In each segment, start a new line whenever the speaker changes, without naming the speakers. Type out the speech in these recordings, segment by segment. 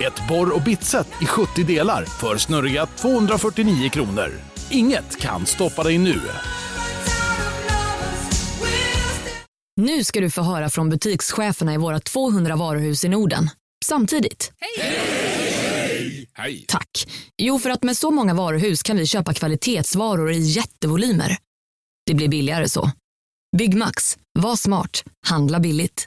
Ett borr och bitset i 70 delar för snurriga 249 kronor. Inget kan stoppa dig nu.
Nu ska du få höra från butikscheferna i våra 200 varuhus i Norden. Samtidigt. Hej! Tack. Jo, för att med så många varuhus kan vi köpa kvalitetsvaror i jättevolymer. Det blir billigare så. Byggmax. Var smart. Handla billigt.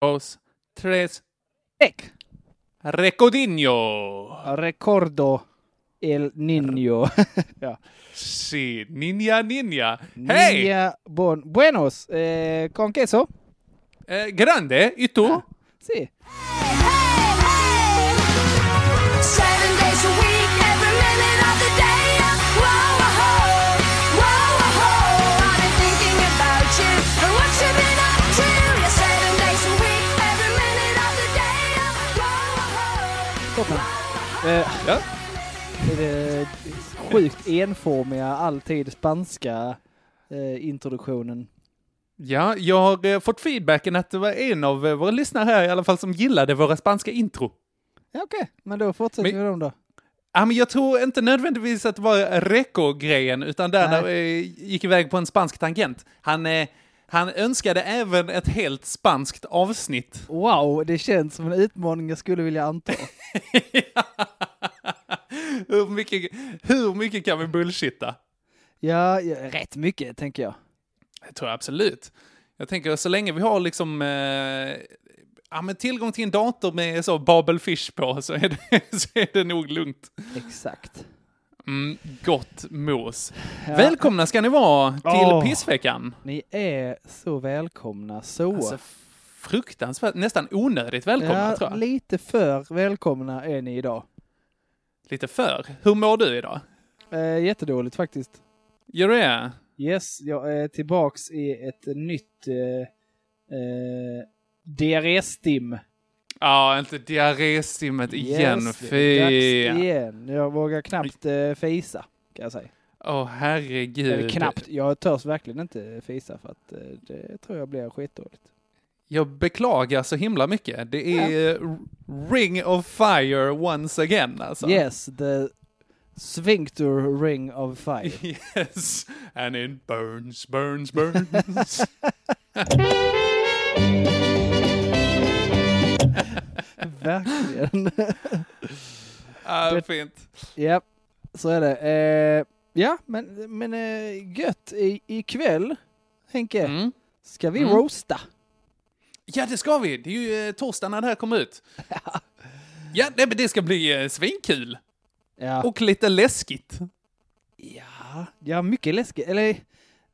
dos, tres. Ek. Recodinho.
Recordo El Niño. ja.
Sí, niña, niña. Hey!
Niña bon buenos eh, con queso.
Eh, grande, ¿y tú?
Sí.
Seven days a week, every minute of the day. Whoa, whoa, whoa, whoa. I've been thinking about you and what you've been up to. Yeah, seven days a week, every minute of the day. Whoa,
Toppen. Eh,
Ja.
det Eh, sjukt enformiga, alltid spanska eh, introduktionen.
Ja, jag har eh, fått feedbacken att det var en av eh, våra lyssnare här i alla fall som gillade våra spanska intro.
Ja, Okej, men då fortsätter
Men-
vi med dem då.
Ja, men jag tror inte nödvändigvis att det var reco-grejen, utan där
Nej.
när eh, gick iväg på en spansk tangent. Han, eh, han önskade även ett helt spanskt avsnitt.
Wow, det känns som en utmaning jag skulle vilja anta.
hur, mycket, hur mycket kan vi bullshitta?
ja, ja, rätt mycket tänker jag.
Det tror jag absolut. Jag tänker så länge vi har liksom eh, ja, men tillgång till en dator med så Babel Fish på så är det, så är det nog lugnt.
Exakt.
Mm, gott mos.
Ja.
Välkomna ska ni vara till
Åh.
pissveckan.
Ni är så välkomna så.
Alltså, fruktansvärt, nästan onödigt välkomna tror
ja,
jag.
lite för välkomna är ni idag.
Lite för. Hur mår du idag?
Eh, jättedåligt faktiskt.
Gör du det?
Yes, jag är tillbaks i ett nytt eh, eh, diarréstim.
Ja, inte diarréstimmet igen.
Yes, det är dags
Fy.
igen. Jag vågar knappt eh, fisa, kan jag säga.
Åh, herregud.
Eller knappt, jag törs verkligen inte fisa för att eh, det tror jag blir skitdåligt.
Jag beklagar så himla mycket. Det är eh, ring of fire once again alltså.
Yes, the sphincter ring of fire.
Yes, and it burns, burns, burns.
verkligen.
ah,
Det-
fint.
Ja, så är det. Eh, ja, men, men eh, gött. I, ikväll, Henke,
Mm.
ska vi
Mm.
roasta.
Ja, det ska vi. Det är ju eh, torsdag när det här kommer ut. ja, nej, men det ska bli eh, svinkul.
Ja.
Och lite läskigt.
Ja, ja mycket läskigt. Eller,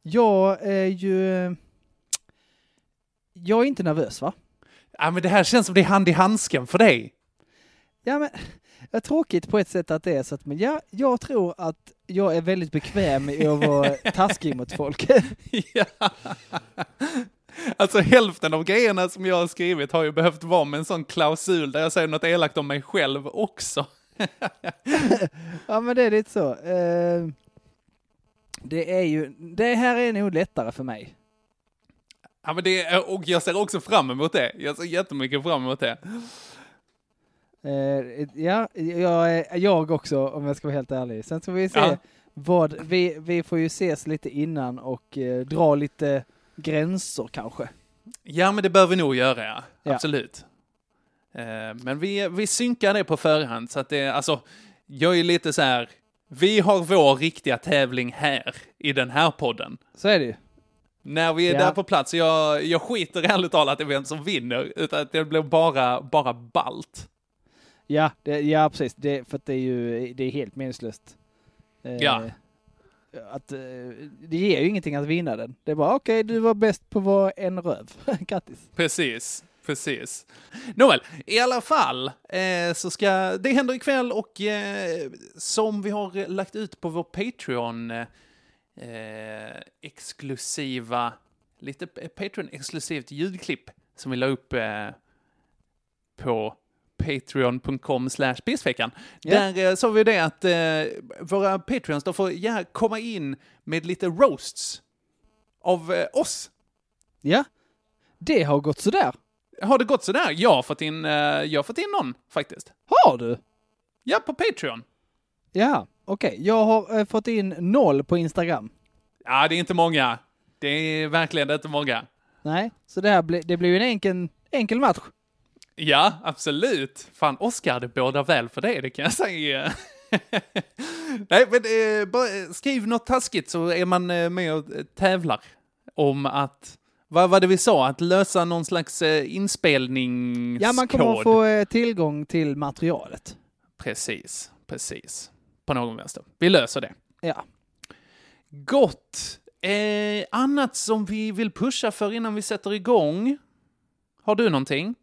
jag är ju... Jag är inte nervös va?
Ja, men det här känns som det är hand i handsken för dig.
Ja, men det är tråkigt på ett sätt att det är så att, men ja, jag tror att jag är väldigt bekväm i att vara taskig mot folk.
ja. Alltså hälften av grejerna som jag har skrivit har ju behövt vara med en sån klausul där jag säger något elakt om mig själv också.
ja, men det är lite så. Eh, Det är ju, det här är nog lättare för mig.
Ja, men det är, och jag ser också fram emot det. Jag ser jättemycket fram emot det.
Eh, Ja, jag, är- jag också om jag ska vara helt ärlig. Sen ska vi se
Ja.
vad, vi, vi får ju ses lite innan och eh, dra lite gränser kanske.
Ja, men det bör vi nog göra, ja.
Ja.
Absolut. Eh, men vi, vi synkar det på förhand, så att det, alltså, jag är lite så här, vi har vår riktiga tävling här, i den här podden.
Så är det ju.
När vi är
Ja.
där på plats, så jag, jag skiter ärligt talat i vem som vinner, utan att det blir bara, bara balt.
Ja, det, ja precis. Det, för att det är ju det är helt meningslöst. Eh,
Ja.
Att, eh, det ger ju ingenting att vinna den. Det är bara okej, du var bäst på att vara en röv. Grattis.
Precis. Precis. Nåväl, i alla fall eh, så ska det händer ikväll och eh, som vi har lagt ut på vår Patreon eh, eh, exklusiva, lite p- Patreon-exklusivt ljudklipp som vi la upp eh, på patreon.com slash pissveckan.
Ja.
Där eh, sa vi det att eh, våra patreons, de får gärna komma in med lite roasts av eh, oss.
Ja. Det har gått sådär.
Har det gått sådär? Jag har fått in, eh, jag har fått in någon faktiskt.
Har du?
Ja, på Patreon.
Ja, okej. Jag har eh, fått in noll på Instagram.
Ja, det är inte många. Det är verkligen inte många.
Nej, så det här blir, det blir ju en enkel, enkel match.
Ja, absolut. Fan, Oscar, det bådar väl för dig, det kan jag säga. Nej, men eh, bara, eh, skriv något taskigt så är man eh, med och eh, tävlar om att, vad var det vi sa, att lösa någon slags eh, inspelningskod.
Ja, man kommer att få eh, tillgång till materialet.
Precis, precis. På någon vänster. Vi löser det.
Ja.
Gott! Eh, annat som vi vill pusha för innan vi sätter igång? Har du någonting?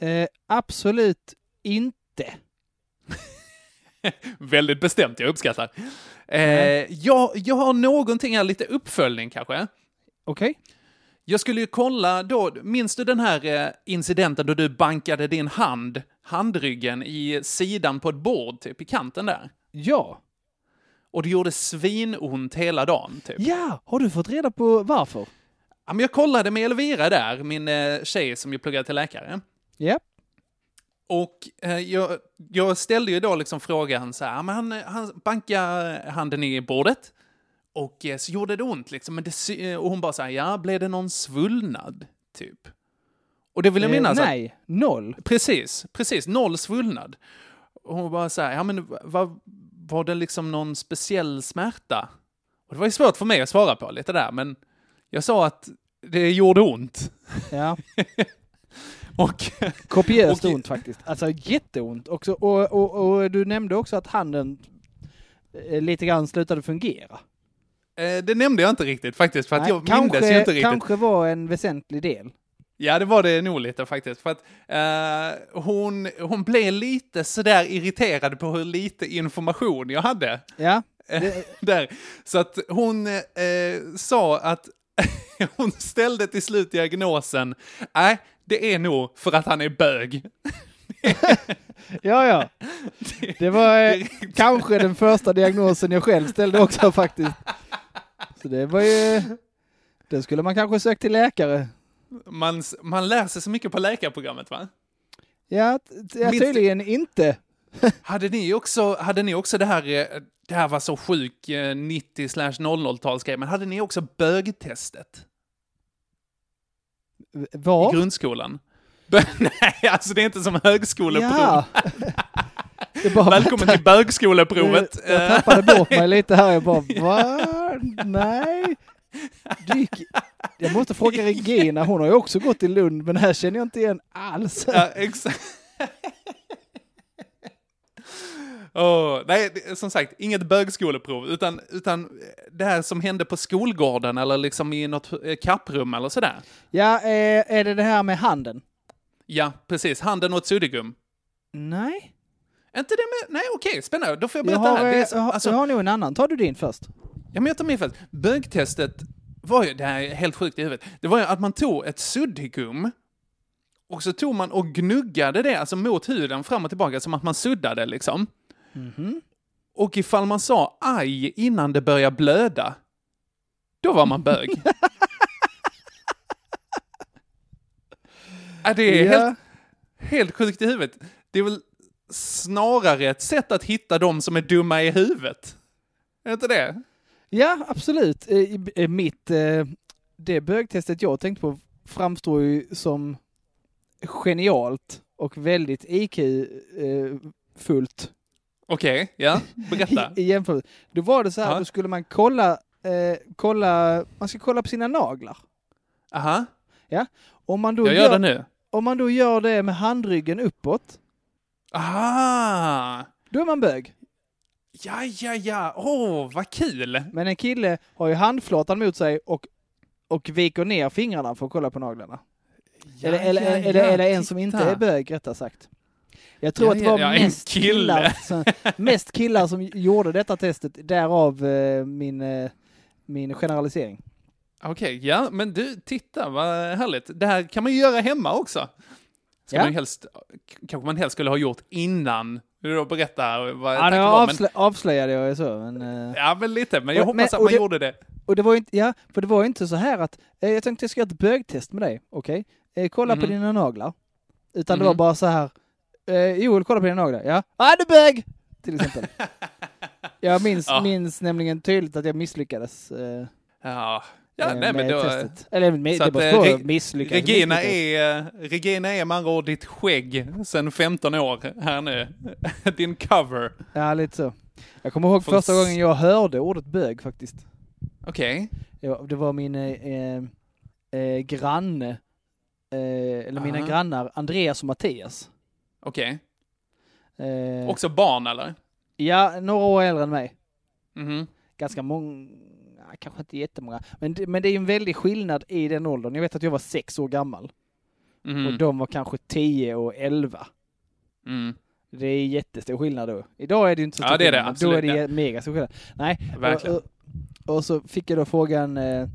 Eh, absolut inte.
Väldigt bestämt, jag uppskattar. Eh, jag, jag har någonting här, lite uppföljning kanske.
Okej?
Jag skulle ju kolla då, minns du den här eh, incidenten då du bankade din hand, handryggen, i sidan på ett bord, typ i kanten där?
Ja.
Och det gjorde svinont hela dagen, typ.
Ja, har du fått reda på varför?
Ja, men jag kollade med Elvira där, min eh, tjej som ju pluggar till läkare.
Ja.
Och eh, jag, jag ställde ju då liksom frågan så här, "Ja, men han, han bankade handen i bordet och eh, så gjorde det ont liksom. Men det, sy- och hon bara så här, ja, blev det någon svullnad? Typ. Och det vill jag
Eh,
minnas. att-
nej, noll.
Precis, precis. Noll svullnad. Och hon bara så här, ja men vad, var det liksom någon speciell smärta? Och det var ju svårt för mig att svara på lite där, men jag sa att det gjorde ont.
Ja.
Och
Kopiöst
Och-
ont faktiskt. Alltså jätteont. Också, och, och, och du nämnde också att handen eh, lite grann slutade fungera.
eh, det nämnde jag inte riktigt faktiskt, för att
Nej,
jag mindes ju inte riktigt.
kanske var en väsentlig del.
Ja, det var det nog lite faktiskt. För att eh, hon, hon blev lite sådär irriterad på hur lite information jag hade.
Ja,
där. Så att hon eh, sa att hon ställde till slut diagnosen, nej, det är nog för att han är bög.
ja, ja. Det var eh, kanske den första diagnosen jag själv ställde också faktiskt. Så det var ju... Den skulle man kanske sökt till läkare.
Man, s- man lär sig så mycket på läkarprogrammet, va?
Ja, t- t- ja
Minst-
tydligen inte.
Hade ni också, hade ni också det här, eh, det här var så sjuk eh, 90 00-talsgrej, men hade ni också bögtestet
V-
i
Var?
grundskolan? Bö- Nej, alltså det är inte som högskoleprov.
Ja. Det bara,
Välkommen till bögskoleprovet. Eh,
Jag tappade bort mig lite här, jag bara va? Nej. Du gick... Jag måste fråga Regina, hon har ju också gått i Lund, men här känner jag inte igen alls.
Ja, exakt. Åh, nej, det- som sagt, inget bögskoleprov, utan, utan det här som hände på skolgården eller liksom i något eh, kapprum eller sådär.
Ja, eh, är det det här med handen?
Ja, precis. Handen åt suddgum.
Nej.
Är Inte det med... Nej, okej, spännande. Då får jag
Jag
berätta
har,
här.
eh,
Det är,
jag,
så-
har,
alltså,
jag har nog en annan. Tar du din först?
Ja, men jag tar min först. Bögtestet var ju, det här är helt sjukt i huvudet, det var ju att man tog ett suddgum och så tog man och gnuggade det, alltså mot huden fram och tillbaka, som att man suddade liksom. Och ifall man sa aj innan det började blöda, då var man bög. ja, det är helt, helt sjukt i huvudet. Det är väl snarare ett sätt att hitta de som är dumma i huvudet. Är inte det?
Ja, absolut. Eh, i- eh, Mitt, eh, det bögtestet jag tänkte på framstår ju som genialt och väldigt IQ-fullt.
Okej, ja. Berätta.
I, i jämförelse. Då var det så här,
Ja.
då skulle man kolla, eh, kolla, man ska kolla på sina naglar.
Aha,
Om man, då
jag gör det nu.
om man då gör det med handryggen uppåt,
Aha!
då är man bög.
Ja, ja, ja. Åh, oh, vad kul!
Men en kille har ju handflatan mot sig och, och viker ner fingrarna för att kolla på naglarna. eller, eller,
ja,
eller,
ja,
eller en som
titta.
inte är bög rättare sagt. Jag tror
Ja,
att det var
ja, en
mest,
kille.
killar som, mest killar som gjorde detta testet, därav eh, min, eh, min generalisering.
Okej, ja, men du, titta vad härligt. Det här kan man ju göra hemma också. Ska
Ja.
man ju helst, k- kanske man helst skulle ha gjort innan du då berättar vad
Ja, det
tanken var.
avslö- avslöjade jag ju så. Men, eh,
Men, ja, men lite, men jag
Och- men-
hoppas att
och
man
det-
gjorde det.
Och det var ju inte, ja, för det var ju inte så här att, eh, jag tänkte jag ska göra ett bögtest med dig, okej? Eh, kolla på dina naglar. Utan det var
Mhm.
bara så här, eh, Joel kolla på dina naglar, ja, ah, du är bög! Till exempel. jag minns,
Ja.
minns nämligen tydligt att jag misslyckades. Eh,
Ja, ja
eh,
nej, men
med
då...
testet. Eller med,
Så
det
att,
var
eh,
så,
Re-
misslyckades.
Regina
misslyckades.
är, eh, Regina är med andra ord ditt skägg sen 15 år här nu. Din cover.
Ja, lite så. Jag kommer ihåg
Från
första
s-
gången jag hörde ordet bög faktiskt.
Okej.
Det var, det var min eh, eh, granne, eh, eller mina
Aha.
grannar Andreas och Mattias.
Okej.
Eh,
Mm. Också barn eller?
Ja, några år äldre än mig.
Mhm.
Ganska många, ja, kanske inte jättemånga. Men det, men det är ju en väldig skillnad i den åldern. Jag vet att jag var sex år gammal och
Mhm.
de var kanske tio och elva.
Mm.
Det är jättestor skillnad då. Idag är det ju inte så
Ja,
stor
det är det,
skillnad, men
absolut,
Då är det
ja.
jä- mega stor skillnad. Nej,
Verkligen.
Och, och, och så fick jag då frågan, eh,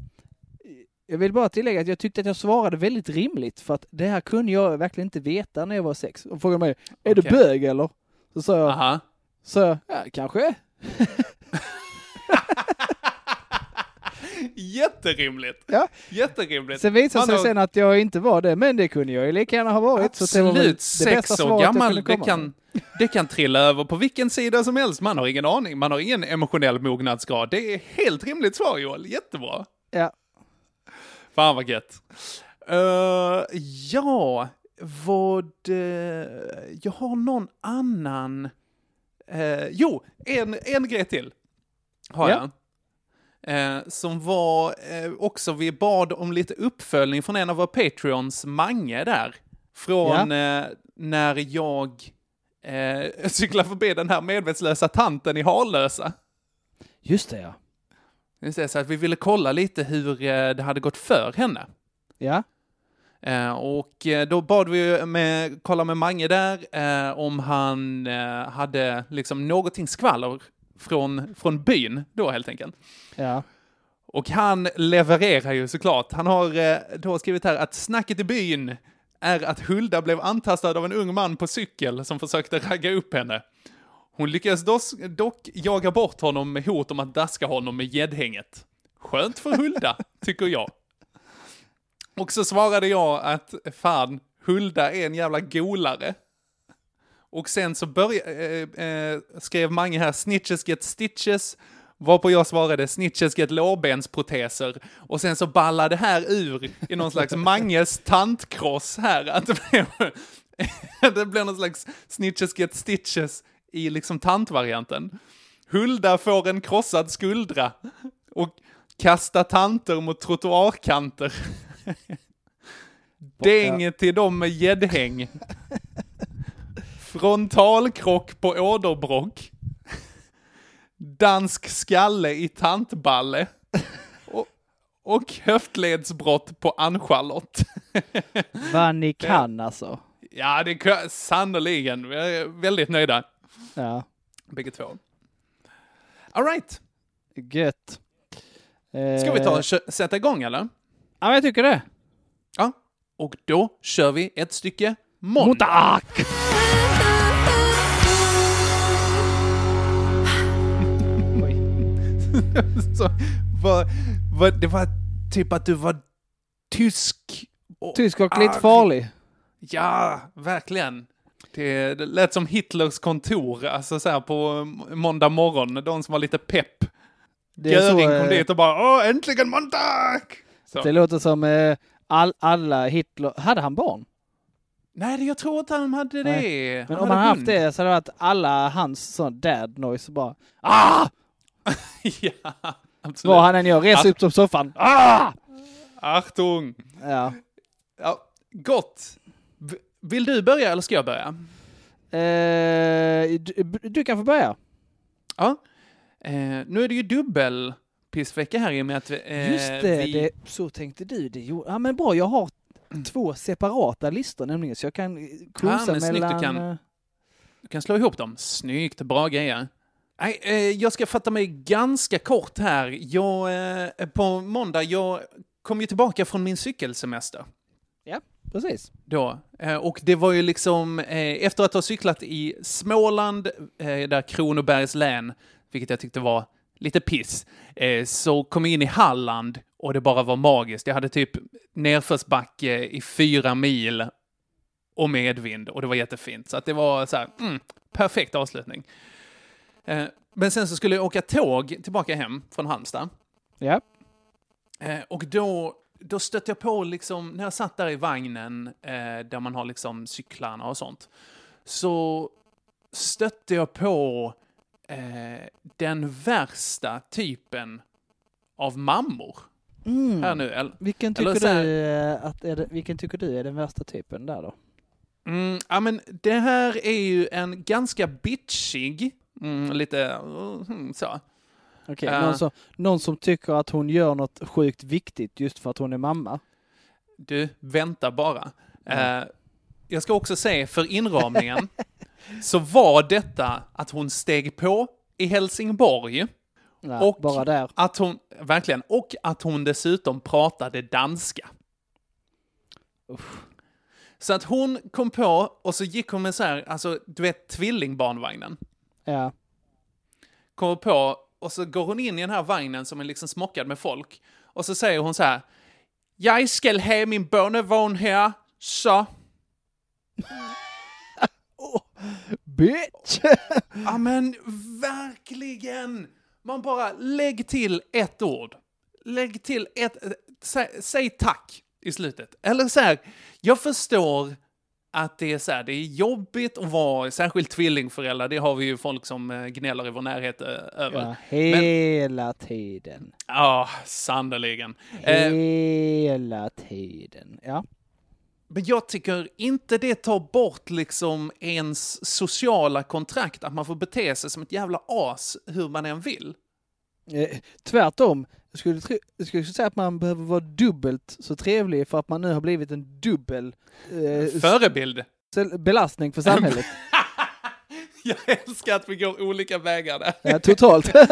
jag vill bara tillägga att jag tyckte att jag svarade väldigt rimligt för att det här kunde jag verkligen inte veta när jag var sex. Och frågade mig, är du
Okej.
bög eller? Så sa jag,
Aha.
så, jag, ja, kanske.
Jätterimligt.
Ja.
Jätterimligt.
Sen visade
Man
sig
har-
sen att jag inte var det, men det kunde jag ju lika gärna ha varit. så det var väl
Absolut,
det
sex
bästa
år
svaret jag
gammal,
kunde
det
komma med.
kan, det kan trilla över på vilken sida som helst. Man har ingen aning, man har ingen emotionell mognadsgrad. Det är helt rimligt svar Joel, jättebra.
Ja.
Fan vad gött. Eh, ja, vad... eh, jag har någon annan... Eh, jo, en, en grej till har
Ja.
jag. Eh, som var eh, också, vi bad om lite uppföljning från en av våra Patreons, Mange där. Från eh, när jag eh, cyklade förbi den här medvetslösa tanten i Harlösa.
Just det ja.
Just det, så att vi ville kolla lite hur eh, det hade gått för henne.
Ja,
Eh, och eh, då bad vi ju med, kolla med Mange där eh, om han eh, hade liksom någonting skvaller från, från byn då helt enkelt.
ja.
Och han levererar ju såklart. Han har eh, då skrivit här att snacket i byn är att Hulda blev antastad av en ung man på cykel som försökte ragga upp henne. Hon lyckades dos- dock jaga bort honom med hot om att daska honom med gäddhänget. Skönt för Hulda, tycker jag. Och så svarade jag att fan, Hulda är en jävla golare. Och sen så börja, eh, eh, skrev Mange här, snitches get stitches, varpå jag svarade snitches get lårbensproteser. Och sen så ballade det här ur i någon slags Manges tantkross här, att det blev, det blev någon slags snitches get stitches i liksom tantvarianten. Hulda får en krossad skuldra och kasta tanter mot trottoarkanter. Däng till dem med gäddhäng. Frontalkrock på åderbråck. Dansk skalle i tantballe. Och, och höftledsbrott på Ann-Charlotte.
Vad ni kan alltså.
Ja, det är sannerligen. Vi är väldigt nöjda,
Ja,
bägge två. All right.
gött. Eh,
Ska vi ta och kö- sätta igång, eller?
Ja, men jag tycker det.
Ja. Och då kör vi ett stycke måndag. Så, vad, vad, det var typ att du var tysk. och-
Tysk och lite
arg.
farlig.
Ja, verkligen. Det, det lät som Hitlers kontor, alltså så här på eh, måndag morgon, de som var lite pepp.
Det är så,
Göring
eh,
kom dit och bara Åh, äntligen måndag! Så.
Det låter som eh, all, alla Hitler... Hade han barn?
Nej, det- jag tror inte han hade det.
Nej. Men
han
om han
hade
haft
hund.
det så hade det varit alla hans sån dad noise bara... Ah!
ja, Alltså- absolut.
Vad han än gör, res upp som soffan. Ah!
Achtung!
Ja.
Ja, gott. V- Vill du börja eller ska jag börja?
Eh, du, du kan få börja.
Ja. Eh, nu är det ju dubbel pissvecka här i och med att vi, eh,
Just det,
vi... Mm.
det, så tänkte du. Det gjorde, ja men bra, jag har två separata listor nämligen, så jag kan eh, kursa
men snyggt, du
mellan...
kan.
eh,
Du kan slå ihop dem. Snyggt, bra grejer. Nej, eh, jag ska fatta mig ganska kort här. Jag, eh, på måndag, jag kom ju tillbaka från min cykelsemester.
Ja, precis.
Då. Eh, och det var ju liksom, eh, efter att ha cyklat i Småland, eh, där Kronobergs län, vilket jag tyckte var lite piss, eh, så kom jag in i Halland och det bara var magiskt. Jag hade typ nedförsbacke i fyra mil och medvind och det var jättefint. Så att det var så här, mm, perfekt avslutning. Eh, men sen så skulle jag åka tåg tillbaka hem från Halmstad.
Ja.
Eh, och då, då stötte jag på, liksom, när jag satt där i vagnen eh, där man har liksom cyklarna och sånt, så stötte jag på eh, den värsta typen av mammor. Här nu. eller-
Vilken
Eller
tycker,
så här-
du, eh, att är det, vilken tycker du är den värsta typen där då?
Mm, ja, men det här är ju en ganska bitchig, mm, lite mm, så.
Okej,
Eh.
någon, som, någon som tycker att hon gör något sjukt viktigt just för att hon är mamma.
Du, vänta bara. Eh, jag ska också säga, för inramningen så var detta att hon steg på i Helsingborg.
Nej,
Och-
Bara där.
Att hon, verkligen, och att hon dessutom pratade danska. Så att hon kom på, och så gick hon med så här, alltså du vet tvillingbarnvagnen.
Ja.
kommer på och så går hon in i den här vagnen som är liksom smockad med folk. Och så säger hon så här. Jag ska ha min barnevagn här, så.
Bitch!
Ja men verkligen! Man bara lägg till ett ord. Lägg till ett, eh, sä, säg tack i slutet. Eller så här, jag förstår att det är så här, det är jobbigt att vara särskilt tvillingförälder, det har vi ju folk som eh, gnäller i vår närhet eh, över.
Ja, hela tiden.
Ja, sannerligen. Eh,
Hela tiden. Ja.
Men jag tycker inte det tar bort liksom ens sociala kontrakt att man får bete sig som ett jävla as hur man än vill.
Eh, tvärtom. Jag skulle, tro- jag skulle säga att man behöver vara dubbelt så trevlig för att man nu har blivit en dubbel eh,
Förebild.
s- belastning för samhället.
Jag älskar att vi går olika vägar där.
ja, totalt.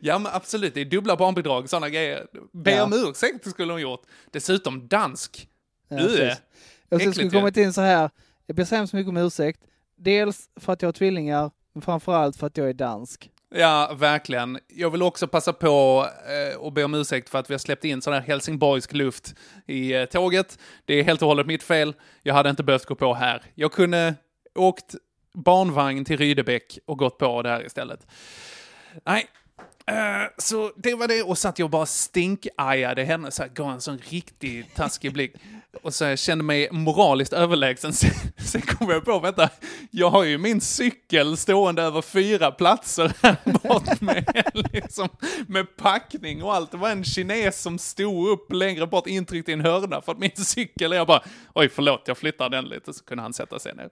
Ja, men absolut. Det är dubbla barnbidrag, sådana grejer. Be
Ja.
om ursäkt skulle hon gjort. Dessutom dansk.
Ja,
Ö.
precis. Jag skulle-
Äckligt
skulle
ju.
kommit in så här. Jag ber så hemskt mycket om ursäkt. Dels för att jag har tvillingar, men framförallt för att jag är dansk.
Ja, verkligen. Jag vill också passa på eh, och be om ursäkt för att vi har släppt in sån här helsingborgsk luft i eh, tåget. Det är helt och hållet mitt fel. Jag hade inte behövt gå på här. Jag kunde åkt barnvagn till Rydebäck och gått på där istället. Nej, eh, så det var det. Och satt jag och bara stinkajade henne, så här, gav en sån riktig taskig blick. Och så jag kände mig moraliskt överlägsen. Sen, sen kom jag på, vänta, jag har ju min cykel stående över fyra platser här bort med, liksom, med packning och allt. Det var en kines som stod upp längre bort intryckt i en hörna för att min cykel, jag bara, oj förlåt, jag flyttar den lite, så kunde han sätta sig ner.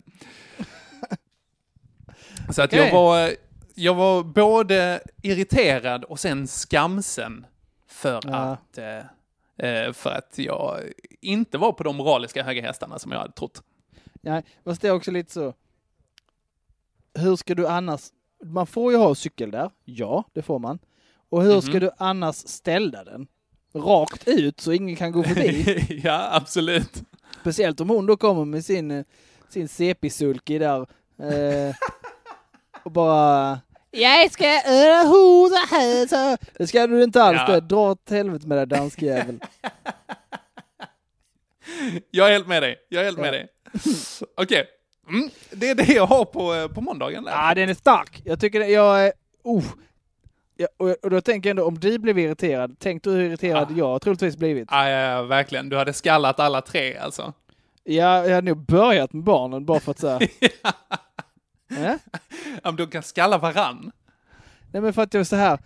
Så att jag,
Okej.
var, jag var både irriterad och sen skamsen för att eh, eh, för att jag inte var på de moraliska höga hästarna som jag hade trott.
Nej, fast det är också lite så. Hur ska du annars? Man får ju ha cykel där. Ja, det får man. Och
Mhm.
hur ska du annars ställa den? Rakt ut så ingen kan gå förbi.
ja, absolut.
Speciellt om hon då kommer med sin, eh, sin CP-sulky där. Eh, och bara... Jag ska öra hoda här så. Det ska du inte alls
Ja.
det. Dra åt helvete med den danskjäveln.
Jag är helt med dig. Jag är helt med dig. Okej. Mm, det är det jag har på, eh, på måndagen. Där.
Ja, den är stark. Jag tycker det, jag är... Oh. Ja, och, och då tänker jag ändå, om du blev irriterad, tänk du hur irriterad jag troligtvis blivit.
Ja, ja, ja, verkligen. Du hade skallat alla tre alltså.
Ja, jag hade nog börjat med barnen bara för att säga. ja.
Ja, men de kan skalla varann.
Nej men för att jag så här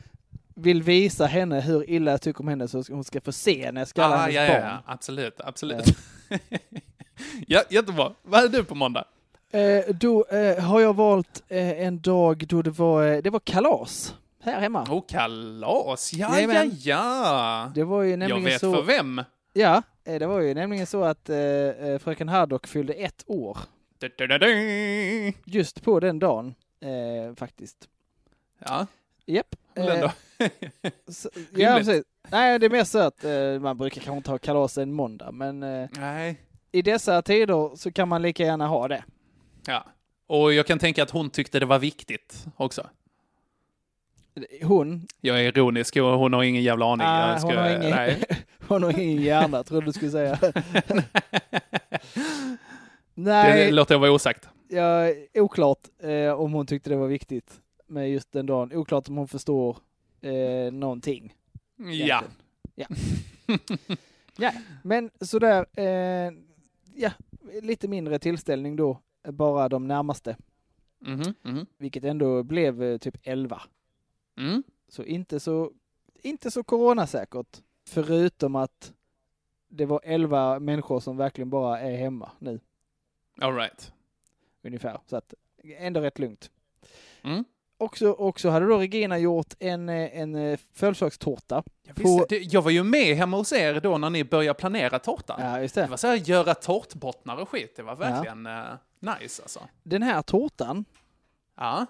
vill visa henne hur illa jag tycker om henne så hon ska få se när jag skallar
Ah,
hennes
ja, ja,
barn.
ja, absolut, absolut. ja, jättebra. Vad är du på måndag?
Eh, då eh, har jag valt eh, en dag då det var, eh, det var kalas här hemma.
Oh, kalas. Ja, ja,
Jajamän.
ja.
Det var ju
Jag
nämligen
vet
så...
för vem.
Ja, Eh, Det var ju nämligen så att eh, eh, fröken Haddock fyllde ett år
Du-du-du-du.
just på den dagen eh, faktiskt.
Ja,
Japp.
men
Eh,
ändå.
så, ja,
Rimligt.
precis. Nej, det är mer så att eh, man brukar kanske inte ha kalas en måndag, men eh,
Nej.
i dessa tider så kan man lika gärna ha det.
Ja. Och jag kan tänka att hon tyckte det var viktigt också.
Hon,
Jag är ironisk och hon har ingen jävla aning.
ah,
jag
hon, har ingen,
Nej.
hon har ingen hjärna, trodde du skulle säga.
Det
Nej,
låter jag vara osagt.
ja, oklart eh, om hon tyckte det var viktigt med just den dagen. Oklart om hon förstår eh, någonting.
Ja.
Egentligen. Ja. ja, men sådär, eh, ja, lite mindre tillställning då, bara de närmaste,
Mhm, mhm.
vilket ändå blev eh, typ 11.
Mm.
Så inte så, inte så coronasäkert, förutom att det var 11 människor som verkligen bara är hemma nu,
All right.
ungefär. Så att, ändå rätt lugnt.
Mm.
Också, också hade då Regina gjort en, eh, en eh, födelsedagstårta.
Jag,
På-
visste, det, jag var ju med hemma hos er då när ni började planera tårtan.
Ja, just
Det
det.
var så här, göra tårtbottnar och skit. Det var verkligen eh, nice alltså.
Den här tårtan
Ja.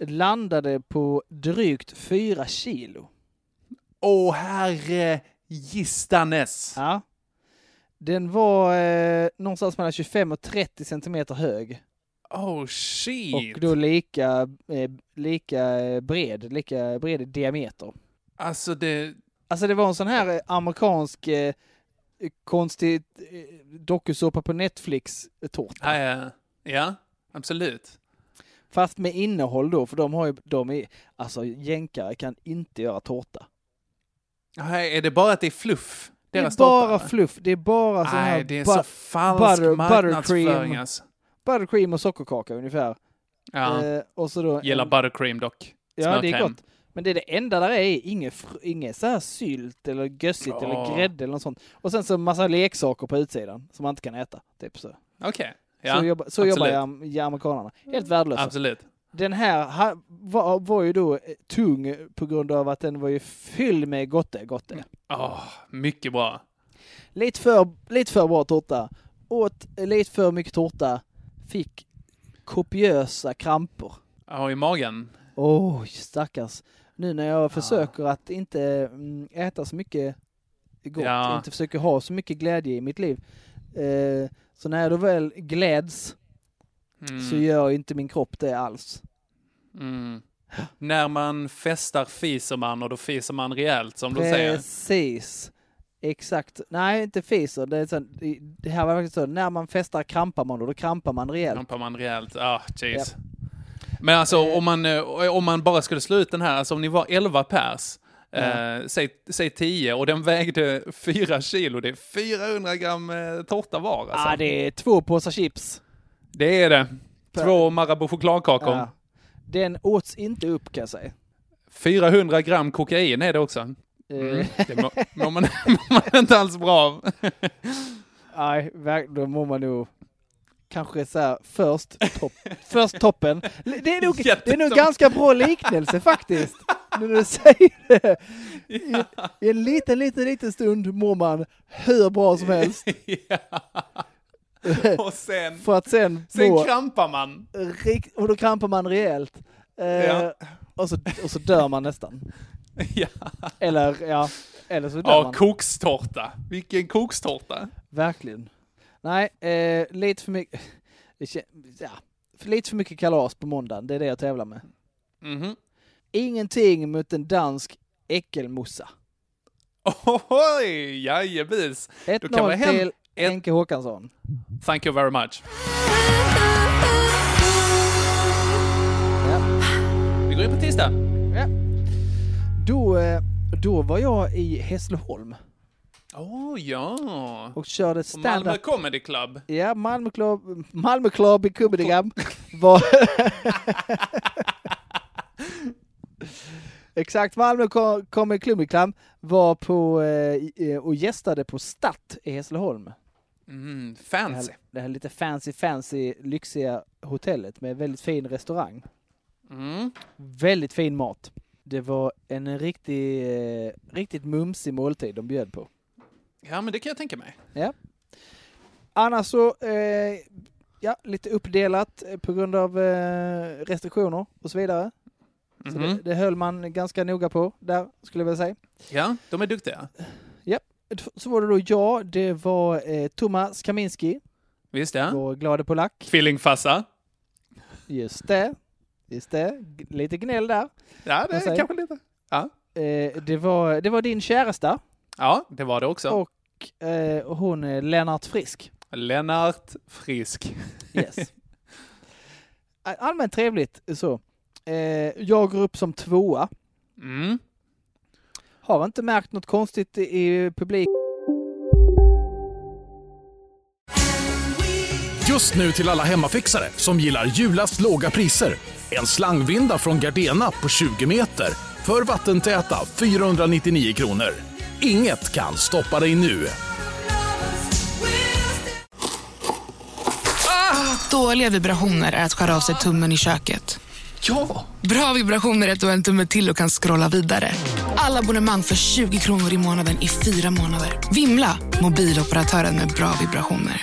landade på drygt fyra kilo.
Åh herre gistanes.
Ja. Den var eh, någonstans mellan 25 och 30 centimeter hög
Oh shit.
och då lika, eh, lika eh, bred, lika bred i diameter.
Alltså det...
Alltså det var en sån här eh, amerikansk eh, konstig eh, dokusåpa på
Ja,
Netflix-tårta.
ja, ja, absolut.
Fast med innehåll då, för de har ju, de är, alltså jänkare kan inte göra tårta.
Nej, är det bara att det är fluff?
Det är
Deras
bara
tårta?
fluff, det är bara sån här
Nej, det är
bu-
så falsk
butter-
marknadsföring
buttercream.
alltså.
buttercream och sockerkaka ungefär.
Ja,
Eh, och så då
gillar
en-
buttercream dock.
Ja, det är
Smörkräm.
gott. Men det är det enda där är inget, fr- inget så här sylt eller gössigt eller
Ja.
grädde eller något sånt. Och sen så massa leksaker på utsidan som man inte kan äta. Typ så.
Okej. Ja,
så jobba, så
absolut.
jobbar jam- ja, amerikanerna. Helt värdelösa.
Absolut.
Den här ha, var, var ju då eh, tung på grund av att den var ju fylld med gotte, gotte.
Åh, mycket bra.
Lite, för, lite för bra tårta. Åt lite för mycket tårta. Fick kopiösa kramper.
Ja, i magen.
Åh, stackars. Nu när jag försöker att inte mm, äta så mycket gott,
Ja.
inte försöker ha så mycket glädje i mitt liv. Eh, så när jag då väl gläds
Mm,
så gör inte min kropp det alls.
mm. När man festar fiser man och då fiser man rejält som de säger.
Precis. Exakt. Nej, inte fiser. Det, är så, det här var faktiskt så, när man festar krampar man och då krampar man rejält.
Trampar man rejält. Ah, jeez. Men alltså om man, eh, om man bara skulle slå ut den här, alltså om ni var 11 pers, eh, säg, säg 10, och den vägde 4 kilo, det är 400 gram eh, tårta var alltså.
ah, det är två påsar chips.
Det är det. Två Marabou chokladkakor.
Ja. Den åts inte upp kan jag säga.
400 gram kokain är det också.
Eh.
Mm. Det mår mår man, mår man inte alls bra av.
Nej, verk- då mår man nog kanske så här först, topp, först toppen. L- Det är nog, det är nog
Jättetopp.
ganska bra liknelse faktiskt. Nu när du säger det. I, I en liten, liten, liten stund mår man hur bra som helst
Och sen,
för att sen
sen
må
krampar man.
rikt- och då krampar man rejält. Eh,
Ja.
och, så, och så dör man nästan.
Ja,
Eller ja, eller så dör
ja
man.
kokstårta. Vilken kokstårta.
Verkligen. Nej, eh, lite för mycket. det kän- Ja, för lite för mycket kalas på måndagen, det är det jag tävlar med.
Mhm.
Ingenting mot en dansk äckelmossa.
Ohoj, jajebus. Då kan man
1-0
hem.
till
Ett-
Henke Håkansson.
Thank you very much. Vi går in på tisdag.
Då, eh, då var jag i Hässleholm
Åh, Oh, ja.
och körde
Och Malmö
stand-up.
Comedy Club.
Ja, Malmö Club, Malmö Club i Kubbedigam var... Exakt, Malmö Co- Comedy Club i Klam var på eh, i- eh, och gästade på Statt i Hässleholm.
Mm,
Det
fancy.
här, det här lite fancy, fancy, lyxiga hotellet med väldigt fin restaurang.
Mm.
Väldigt fin mat. Det var en riktig, eh, riktigt mumsig måltid de bjöd på.
Ja, men det kan jag tänka mig.
Ja. Annars så, eh, ja, lite uppdelat eh, på grund av eh, restriktioner och så vidare. Så
Mhm.
det, det höll man ganska noga på där, skulle jag vilja säga.
Ja, de är duktiga.
Så var det då jag, det var eh, Thomas Kaminski,
Visst ja.
vår glade polack.
Tvillingfassa.
Just det, just det. G- Lite gnäll där.
Ja, det
Vad
är
säger-
Eh, kanske lite. Ja.
Eh, det, var, det var din käresta
ja, det var det också.
och eh, hon är Lennart Frisk.
Lennart Frisk.
Yes. All- Allmänt trevligt så. Eh, jag går upp som tvåa.
Mm.
Har inte märkt något konstigt i- i publik.
Just nu till alla hemmafixare som gillar Julas låga priser. En slangvinda från Gardena på 20 meter för vattentäta 499 kronor. Inget kan stoppa dig nu.
Dåliga vibrationer är att skära av sig tummen i köket.
Ja!
Bra vibrationer är att du har en tumme till och kan scrolla vidare. Alla abonnemang för 20 kronor i månaden i fyra månader. Vimla! Mobiloperatören med bra vibrationer.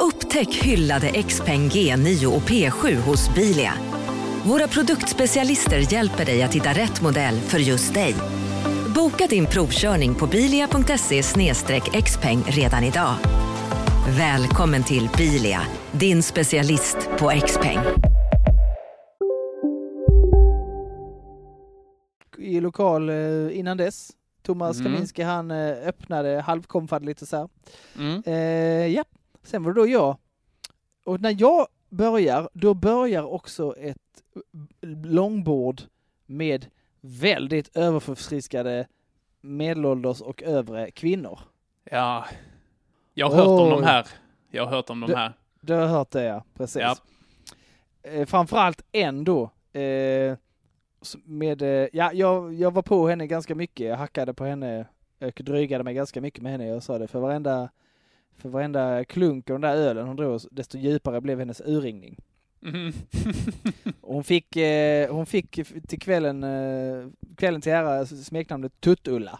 Upptäck hyllade XPeng G9 och P7 hos Bilia. Våra produktspecialister hjälper dig att hitta rätt modell för just dig. Boka din provkörning på bilia.se xpeng redan idag. Välkommen till Bilia, din specialist på XPeng.
i lokal eh, innan dess. Thomas
Mm.
Kaminski han eh, öppnade halvkonfad lite så här.
Mm.
Eh, ja, sen var det då jag. Och när jag börjar, då börjar också ett långbord med väldigt överförfriskade medelålders och övre kvinnor.
Ja. Jag har hört om
Oj.
de här. Jag har hört om de
Du-
här.
Du har hört det ja, precis.
Ja.
Eh, framförallt en då. Eh, s- med, eh, ja, jag, jag var på henne ganska mycket, jag hackade på henne och drygade mig ganska mycket med henne. Jag sa det för varenda, för varenda klunk av den där ölen hon drog, desto djupare blev hennes urringning.
Mm.
Och hon fick, eh, hon fick f- till kvällen, eh, kvällen till ära s- smeknamnet Tuttulla.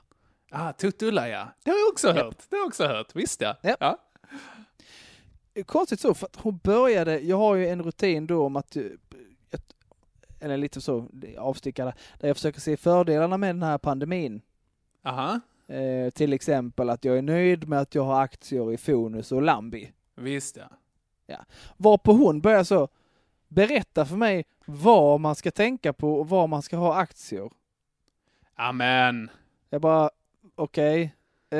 ah, Tuttulla ja. Det har jag också hört. Det har jag också hört. Visst ja.
Japp.
Ja.
Konstigt så, för att hon började, jag har ju en rutin då om att, eh, ett- eller lite så, avstickare, där jag försöker se fördelarna med den här pandemin.
Aha.
Eh, till exempel att jag är nöjd med att jag har aktier i Fonus och Lambi.
Visst ja.
Varpå hon börjar så, berätta för mig vad man ska tänka på och vad man ska ha aktier.
Amen.
Jag bara, okej, eh,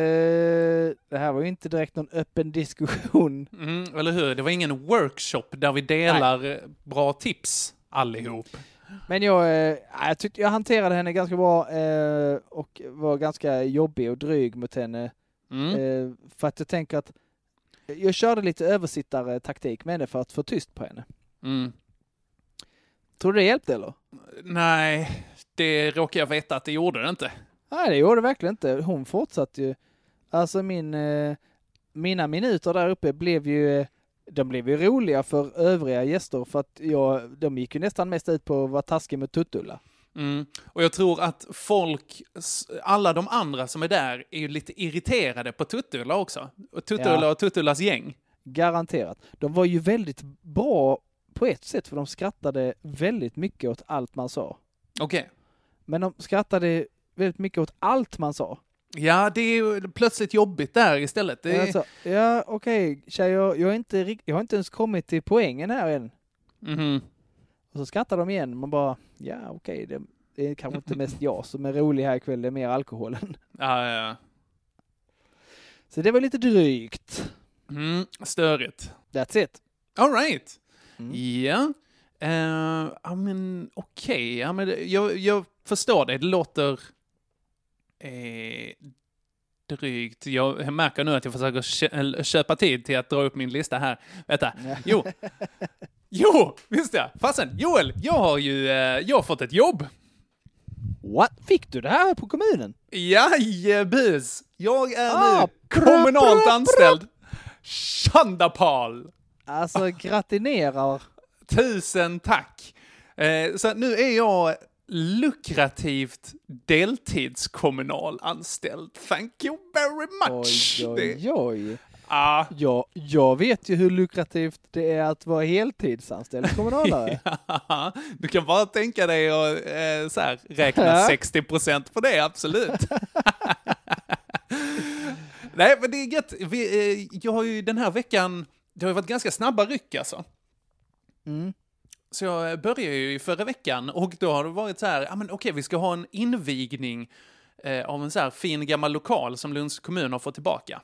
det här var ju inte direkt någon öppen diskussion.
Mm, eller hur? Det var ingen workshop där vi delar eh, bra tips allihop.
Men jag, eh, jag tyckte jag hanterade henne ganska bra eh, och var ganska jobbig och dryg mot henne.
Mm.
Eh, för att jag tänker att jag körde lite översittare-taktik med henne för att få tyst på henne.
Mm.
Tror du det hjälpte eller?
Nej, det råkar jag veta att det gjorde det inte.
Nej, det gjorde det verkligen inte. Hon fortsatte ju. Alltså min, eh, mina minuter där uppe blev ju, eh, de blev ju roliga för övriga gäster för att jag, de gick ju nästan mest ut på att vara taskig med Tuttulla.
Mm. Och jag tror att folk, s- alla de andra som är där, är ju lite irriterade på Tuttulla också. Och Tuttulla
Ja.
och Tuttullas gäng.
Garanterat. De var ju väldigt bra på ett sätt för de skrattade väldigt mycket åt allt man sa.
Okej.
Men de skrattade väldigt mycket åt allt man sa.
Ja, det är ju plötsligt jobbigt där istället. Det är...
Alltså, ja, okej tjejer, jag, är inte, rikt- jag har inte ens kommit till poängen här än.
Mhm.
Och så skrattar de igen. Man bara, ja okej, det, det är kanske inte mest jag som är rolig här ikväll, det är mer alkoholen.
Ja, ja, ja.
Så det var lite drygt.
Mm. Störigt.
That's it.
All right.
Mm.
Ja. Eh, ja, men okej. Ja, men det- jag, jag förstår det. Det låter eh, drygt. Jag märker nu att jag försöker kö- eller köpa tid till att dra upp min lista här. Vänta. Jo. Jo, visst ja. Fasen, Joel, jag har ju eh, jag har fått ett jobb.
What? Fick du det här på kommunen?
Jajebus! Jag är
Ah,
nu kommunalt anställd. Chandapal! Ah.
Alltså gratinerar.
Tusen tack! Eh, så nu är jag lukrativt deltidskommunalanställd. Thank you very much.
Oj,
Det,
oj, oj.
ah,
Jag, jag vet ju hur lukrativt det är att vara heltidsanställd kommunalare.
du kan bara tänka dig att eh, så här, räkna
Ja.
60% på det, absolut. Nej, men det är gött. Vi, eh, jag har ju den här veckan, det har ju varit ganska snabba ryck alltså. Så jag började ju i förra veckan och då har det varit så här, ja men okej vi ska ha en invigning eh, av en så här fin gammal lokal som Lunds kommun har fått tillbaka.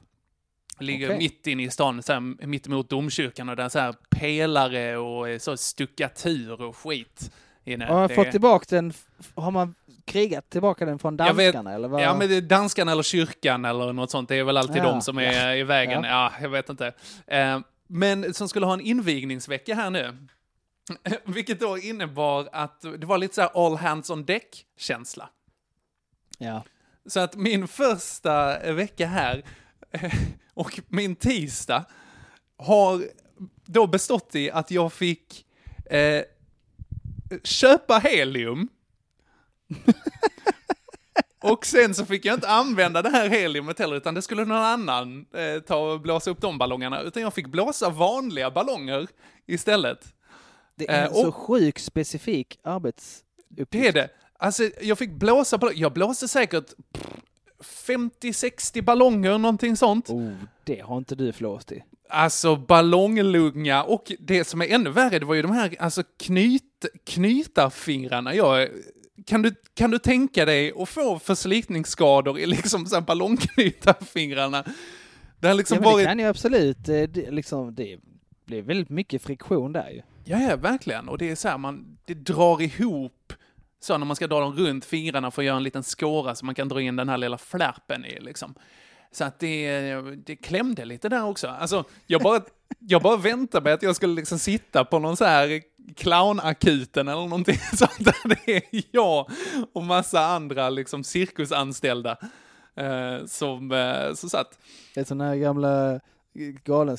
Ligger
Okej.
mitt inne i stan, så här, mitt emot domkyrkan och där är så här pelare och eh, så stuckatur och skit. Inne.
Har man
Det-
fått tillbaka den, f- har man krigat tillbaka den från
Jag vet-
danskarna eller vad?
Ja, men det är danskarna eller kyrkan eller något sånt. Det är väl alltid
Ja.
de som är i vägen.
Ja.
Ja. jag vet inte. Eh, Men som skulle ha en invigningsvecka här nu. Vilket då innebar att det var lite så här all hands on deck-känsla.
ja.
Så att min första vecka här eh, och min tisdag har då bestått i att jag fick eh, köpa helium. och sen så fick jag inte använda det här heliumet heller, utan det skulle någon annan eh, ta och blåsa upp de ballongerna. Utan jag fick blåsa vanliga ballonger istället.
Det är en
Eh,
så
och-
sjukt specifik arbetsuppgift.
Det är det. Alltså, jag fick blåsa ballonger. Jag blåste säkert pff, 50-60 ballonger, någonting sånt.
Oh, det har inte du flåst i.
Alltså ballonglunga och det som är ännu värre, det var ju de här alltså, knyt, knytarfingrarna. Jag, kan, du, kan du tänka dig att få förslitningsskador i liksom så här ballongknytarfingrarna? Det har liksom
Ja, men det
varit...
kan ju absolut, eh, det, liksom, det blir väldigt mycket friktion där ju.
Ja, ja, verkligen. Och det är så här, man, det drar ihop så när man ska dra dem runt fingrarna för att göra en liten skåra så man kan dra in den här lilla flärpen i liksom. Så att det, det klämde lite där också. Alltså, jag bara, jag bara väntade mig att jag skulle liksom sitta på någon så här clownakuten eller någonting sånt där det är jag och massa andra liksom cirkusanställda eh, som, eh, som satt.
Det är sådana här gamla eh,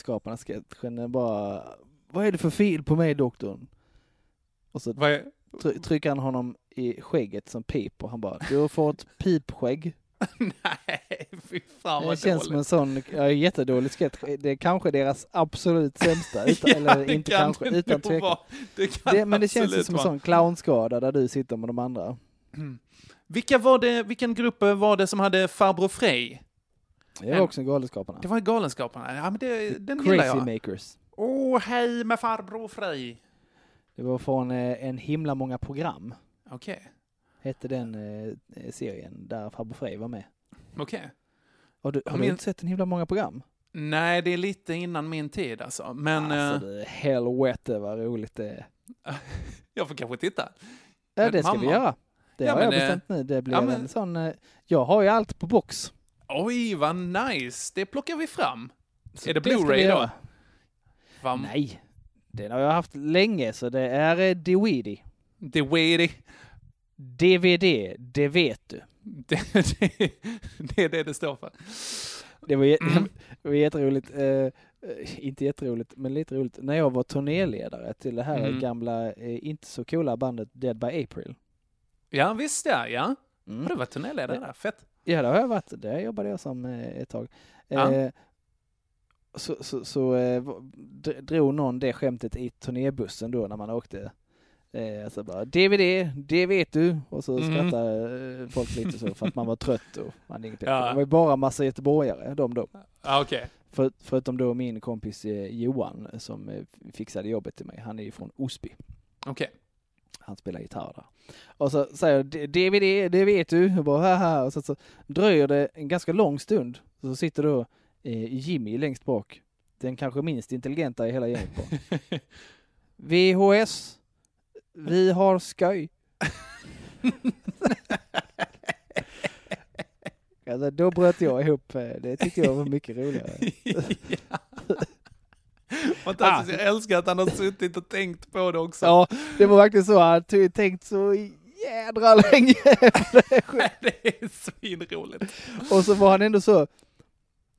Galenskaparna-sketchen, bara Vad är det för fel på mig doktorn? Och så
Vad är-
try- trycker han honom i skägget som pip och han bara Du får ett pipskägg.
Nej, fy fan
det
vad
känns som
dåligt.
en sån, ja, jättedålig sketch. Det är kanske deras absolut sämsta, utan, eller
det
inte
kan
kanske,
det
utan
nog
tvekan.
vara. Det kan
Det, men det känns ju
absolut
som en
vara.
sån clownskada där du sitter med de andra.
Vilka var det, vilken grupp eh, var det som hade Farbror Frej?
Det var
En-
också Galenskaparna.
Det var Galenskaparna. Ja, men det, den gillar
Crazy
jag.
Makers.
Åh, oh, hej med Farbror Frej.
Det var från eh, En himla många program,
Okej,
hette den eh, serien där Farbror Frej var med.
okej.
Har du, har
Jag
du
minns-
inte sett en himla många program?
Nej, det är lite innan min tid alltså. Men
Alltså
eh,
du, helvete vad roligt det är.
jag får kanske titta.
Ja,
Men
det ska vi
mamma.
göra. Det
Ja,
har jag
men, eh,
bestämt nu. Det blir
ja, men-
en sån, eh, jag har ju allt på box.
Oj, vad nice. Det plockar vi fram.
Så
är det,
ska vi
Blu-ray då?
göra.
Vad-
Nej, den har jag haft länge så det är eh, DVD.
Det är weirdy.
DVD, det vet du.
Det, det, det är det det står för.
Det var, jä-
Mm.
det var jätteroligt, eh, eh, inte jätteroligt, men lite roligt. När jag var turnéledare till det här
Mm.
gamla, eh, inte så coola bandet Dead by April.
Ja, visst ja. ja.
Mm.
Har du varit turnéledare där? Fett.
Ja, det har jag varit. Där jobbade jag som eh, ett tag.
Ja.
Eh, så så, så eh, v- dr- drog någon det skämtet i turnébussen då när man åkte. Eh, alltså bara DVD, det vet du. Och så
Mhm.
skrattade eh, folk lite så för att man var trött och man hade inget bättre.
Ja.
Det var ju bara massa göteborgare, de då.
Ja, okej.
För, förutom då min kompis eh, Johan som eh, fixade jobbet till mig. Han är ju från Osby.
Okej.
Han spelar gitarr där. Och så säger jag "D- DVD, det vet du. Och, bara, Haha. och så, så dröjer det en ganska lång stund. Så sitter då eh, Jimmy längst bak. Den kanske minst intelligenta i hela gänget. bara. VHS. Vi har skoj. Alltså, då bröt jag ihop. eh, Det tyckte jag var mycket roligare.
Fantastiskt,
Ah.
jag älskar att han har suttit och tänkt på det också.
Ja, det var verkligen så. Han hade tänkt så jädra länge.
Det är svinroligt.
Och så var han ändå så...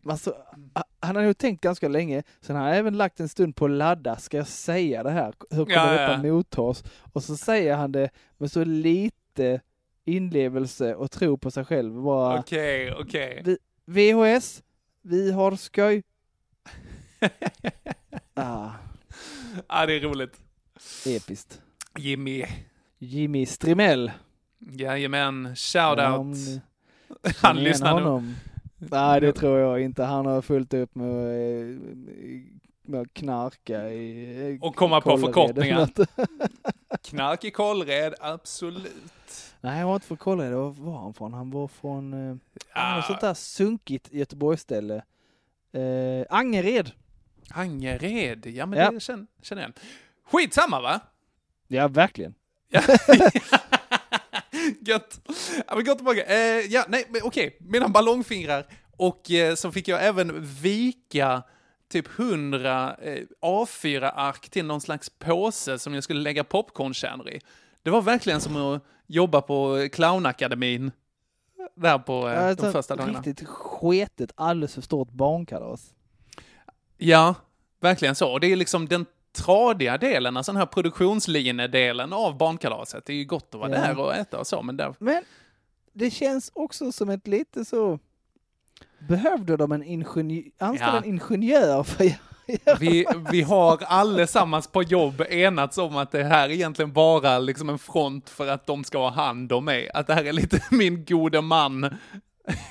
Alltså,
Mm.
a- han hade nog tänkt ganska länge, sen har han även lagt en stund på att ladda, ska jag säga det här? Hur kommer
Ja, ja,
detta
ja.
mottas? Och så säger han det med så lite lite inlevelse och tro på sig själv. Bara,
Okej, okej.
vi, VHS, vi har skoj. ah,
Ja, det är roligt.
episkt.
Jimmy.
Jimmy Strimell.
Jajamän, shout
Om
out.
ni
Han
känner igen
lyssnar nog.
honom. Nej, det tror jag inte. Han har fullt upp med, eh, med att knarka i... eh,
Och komma på
Kållered
förkortningar.
eller något.
Knark i Kållered, absolut.
Nej, jag var inte från Kållered. Var var han från? Han var från... eh, Ah. Något sånt
Ah,
där sunkigt Göteborgsställe. Eh, Angered.
Angered, ja men
Ja.
det känner, känner jag igen. Skitsamma va?
Ja, verkligen.
Gött. Ja, men gå tillbaka. Eh, ja, nej, men okej. Mina ballongfingrar. Och eh, så fick jag även vika typ 100 eh, A4-ark till någon slags påse som jag skulle lägga popcornkärnor i. Det var verkligen som att jobba på clownakademin. Där på eh,
Ja,
de första dagarna.
riktigt sketet, alldeles för stort barnkalas.
Ja, verkligen så. Och det är liksom den tradiga delen, alltså den här produktionslinedelen av barnkalaset. Det är ju gott att vara
Ja.
där och äta och så, men där...
Men det känns också som ett lite så... Behövde de en ingenjör, anställa
Ja.
en ingenjör för att göra
Vi, vi har allesammans på jobb enats om att det här är egentligen bara liksom en front för att de ska ha hand om mig. Att det här är lite min gode man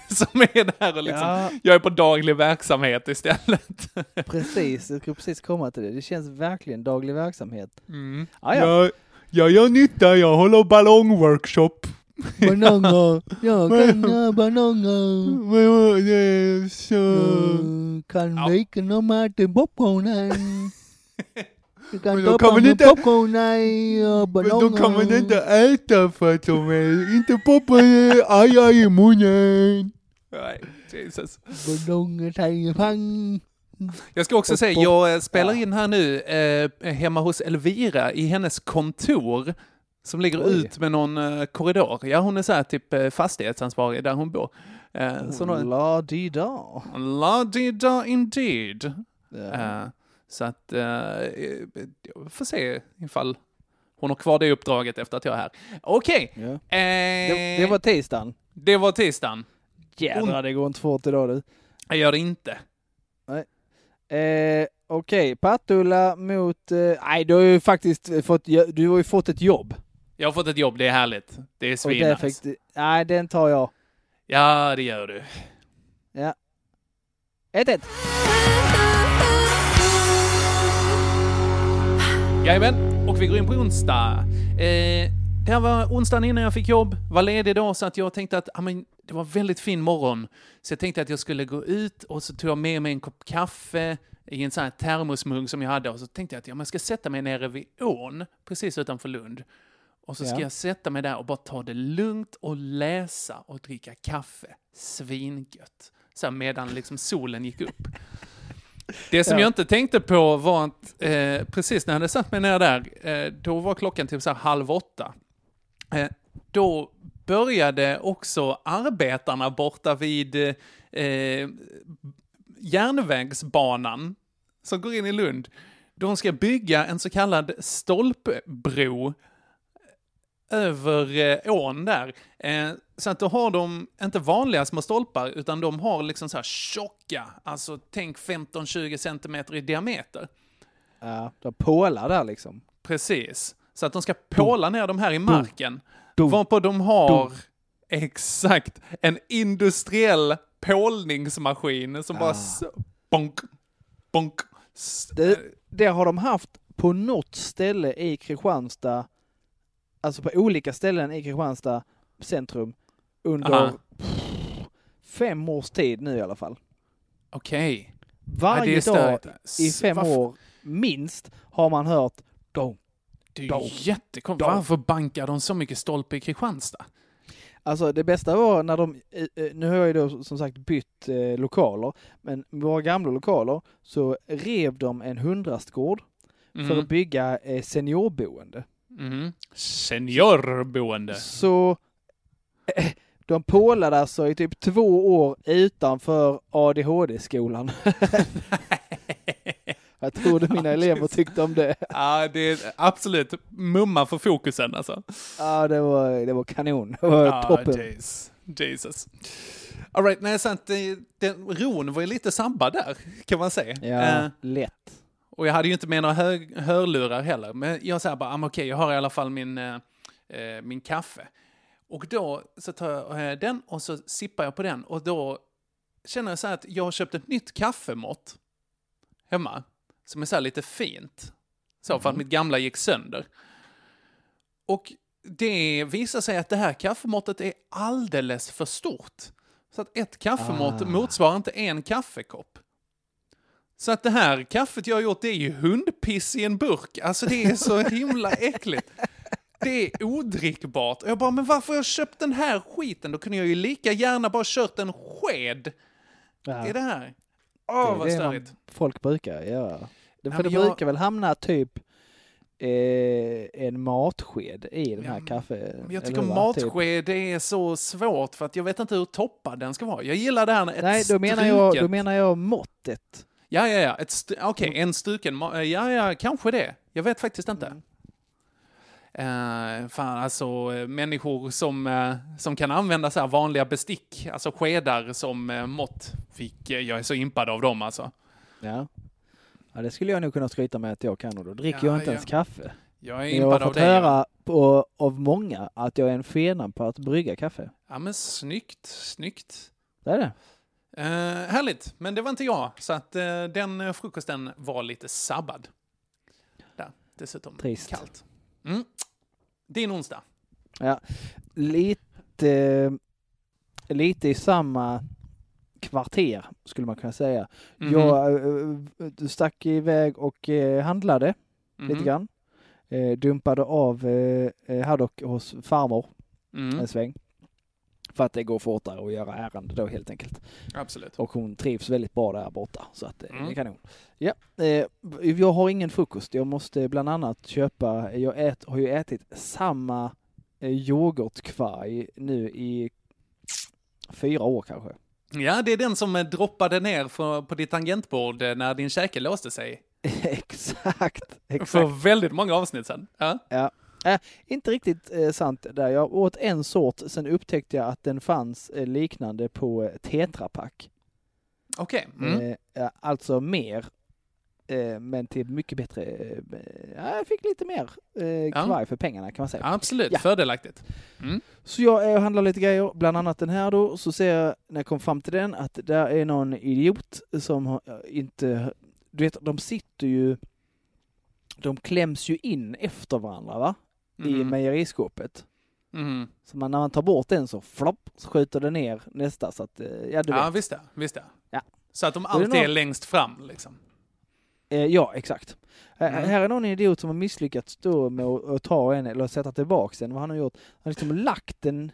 som är där och liksom,
Ja.
jag är på daglig verksamhet istället.
Precis, jag skulle precis komma till det. Det känns verkligen daglig verksamhet.
Mm.
Ah, ja.
jag gör nytta, jag håller ballongworkshop.
Bananer, jag kan ha bananer. Jag kan
Ja.
leken om att det är popcorn här. Du kan
Men då
doppa
kommer
med
det inte-
popcorn här och bananer.
äta för att de är inte poppar aja i munnen. Nej, Jesus.
Ballonger säger pang.
Jag ska också säga, jag eh, spelar in här nu eh, hemma hos Elvira i hennes kontor som ligger
Oj.
ut med någon eh, korridor. Ja, hon är så här typ eh, fastighetsansvarig där hon bor. Eh, så då,
La di da.
la di da indeed.
Ja.
Eh, så att, eh, eh, jag får se ifall hon har kvar det uppdraget efter att jag är här. Okej.
Ja.
Eh,
Det, det var tisdagen.
det var tisdagen.
Jädrar, det går inte fort idag du.
Jag gör det inte.
Eh, Okej, Pattulla mot... eh, Nej, du har ju faktiskt fått, jo- du har ju fått ett jobb.
Jag har fått ett jobb, det är härligt. Det är
Och där
svinnice.
fick du, nej, den tar jag.
Ja, det gör du.
1-1.
Jajamän, och vi går in på onsdag. Eh, det här var onsdagen innan jag fick jobb, var ledig då, så att jag tänkte att ah, men, det var en väldigt fin morgon. Så jag tänkte att jag skulle gå ut och så tog jag med mig en kopp kaffe i en sån här termosmugg som jag hade och så tänkte jag att ja, men jag ska sätta mig nere vid ån, precis utanför Lund. Och så ska
Ja.
jag sätta mig där och bara ta det lugnt och läsa och dricka kaffe. Svingött. Så här, medan liksom solen gick upp. Det som
Ja.
jag inte tänkte på var att eh, precis när jag hade satt mig ner där, eh, då var klockan typ så här halv åtta. Eh, då började också arbetarna borta vid eh, eh, järnvägsbanan som går in i Lund. De ska bygga en så kallad stolpbro över eh, ån där. Eh, så att då har de inte vanliga små stolpar, utan de har liksom så här tjocka, alltså tänk 15-20 centimeter i diameter.
Ja, du har pålar där liksom.
Precis. Så att de ska påla ner de här i marken.
Dunk.
Varpå de har exakt en industriell pålningsmaskin som bara s- bonk, bonk. s- eh,
Det, det har de haft på något ställe i Kristianstad, alltså på olika ställen i Kristianstad centrum under
Aha.
pff, fem års tid nu i alla fall.
Okej. Ja, det
Varje
är
dag
störigt.
i
S-
fem
varför-
år minst har man hört dong.
Det är ju
Dom.
jättekonstigt.
Dom.
Varför bankar de så mycket stolpe i Kristianstad?
Alltså det bästa var när de, eh, eh, nu har jag ju då som sagt bytt eh, lokaler, men våra gamla lokaler så rev de en hundrastgård för att bygga eh, seniorboende.
Mm. Seniorboende.
Så eh, de pålade alltså i typ två år utanför ADHD-skolan. Jag trodde mina elever tyckte om det.
Ja, det är absolut mumma för fokusen alltså.
Ja, det var, det var kanon. Det var toppen.
Jesus. Jesus. All right, nej, sant. det- Den, ron var ju lite sabbad där, kan man säga.
Ja,
Eh,
lätt.
och jag hade ju inte med några hö- hörlurar heller. Men jag säger bara, ah, men okej, jag har i alla fall min, eh, eh, min kaffe. Och då så tar jag eh, den och så sippar jag på den. Och då känner jag så här att jag har köpt ett nytt kaffemått hemma. Som är så här lite fint. Så, för att mitt gamla gick sönder. Och det visar sig att det här kaffemåttet är alldeles för stort. Så att ett kaffemått motsvarar inte en kaffekopp. Så att det här kaffet jag har gjort, det är ju hundpiss i en burk. Alltså det är så himla äckligt. Det är odrickbart. Och jag bara, men varför har jag köpt den här skiten? Då kunde jag ju lika gärna bara kört en sked
Ja,
i det här. Åh, vad
det är
störigt.
man, folk brukar göra. Det,
Ja,
för det
men jag-
brukar väl hamna typ eh, en matsked i den här kaffe...
Men jag
eller
tycker
hur, va? Typ.
matsked det är så svårt för att jag vet inte hur toppad den ska vara. Jag gillar det här när ett
Typ. Nej, då menar, jag, då menar jag måttet.
Ja, ja, ja. Ett st- Okej, en struken ma- eh, Ja, ja, kanske det. Jag vet faktiskt inte. Eh, fan, alltså eh, människor som, eh, som kan använda så här vanliga bestick, alltså skedar som uh, mått. Fick, eh, jag är så impad av dem alltså.
Ja. ja, det skulle jag nog kunna skryta med att jag kan och då dricker
Ja,
jag inte
ja.
ens kaffe.
Jag är
Men jag har
impad av
fått
dig.
höra på, av många att jag är en fena på att brygga kaffe.
Ja, men snyggt, snyggt.
Det är det.
Eh, härligt, men det var inte jag. Så att eh, den eh, frukosten var lite sabbad. Där, dessutom
Trist.
kallt. Mm. Din onsdag.
Ja, lite, lite i samma kvarter skulle man kunna säga.
Mhm.
Jag eh, stack iväg och eh, handlade lite
Mhm.
grann. Eh, dumpade av eh, eh, Haddock hos farmor
Mm.
en sväng. För att det går fortare att göra ärende då helt enkelt.
Absolut.
Och hon trivs väldigt bra där borta. Så att eh, det
Mm.
är kanon. Ja, eh, jag har ingen frukost. Jag måste bland annat köpa, jag ät, har ju ätit samma eh, yoghurtkvarg nu i fyra år kanske.
Ja, det är den som eh, droppade ner för, på ditt tangentbord eh, när din käke låste sig.
exakt,
För
exakt.
väldigt många avsnitt sedan. Ja.
Ja. Äh, inte riktigt eh, sant där. Jag åt en sort, sen upptäckte jag att den fanns eh, liknande på eh, tetrapack.
Okej. Mm.
Eh, ja, alltså mer, eh, men till mycket bättre. Eh, ja, jag fick lite mer eh,
Ja.
kvar för pengarna kan man säga.
Absolut,
ja.
fördelaktigt.
Så jag är och handlar lite grejer, bland annat den här då, så ser jag när jag kom fram till den att där är någon idiot som har, eh, inte, du vet de sitter ju, de kläms ju in efter varandra va? I
Mhm.
mejeriskåpet.
Mm.
Så man, när man tar bort en så flopp, så skjuter det ner nästa så att, eh, ja du
Ja,
vet.
visst det. Visst det.
Ja.
Så att de
är
alltid
någon-
är längst fram, liksom.
Eh, ja, exakt. Eh, Här är någon idiot som har misslyckats då med att, att ta en eller sätta tillbaks den. Vad han har gjort, han har liksom lagt den,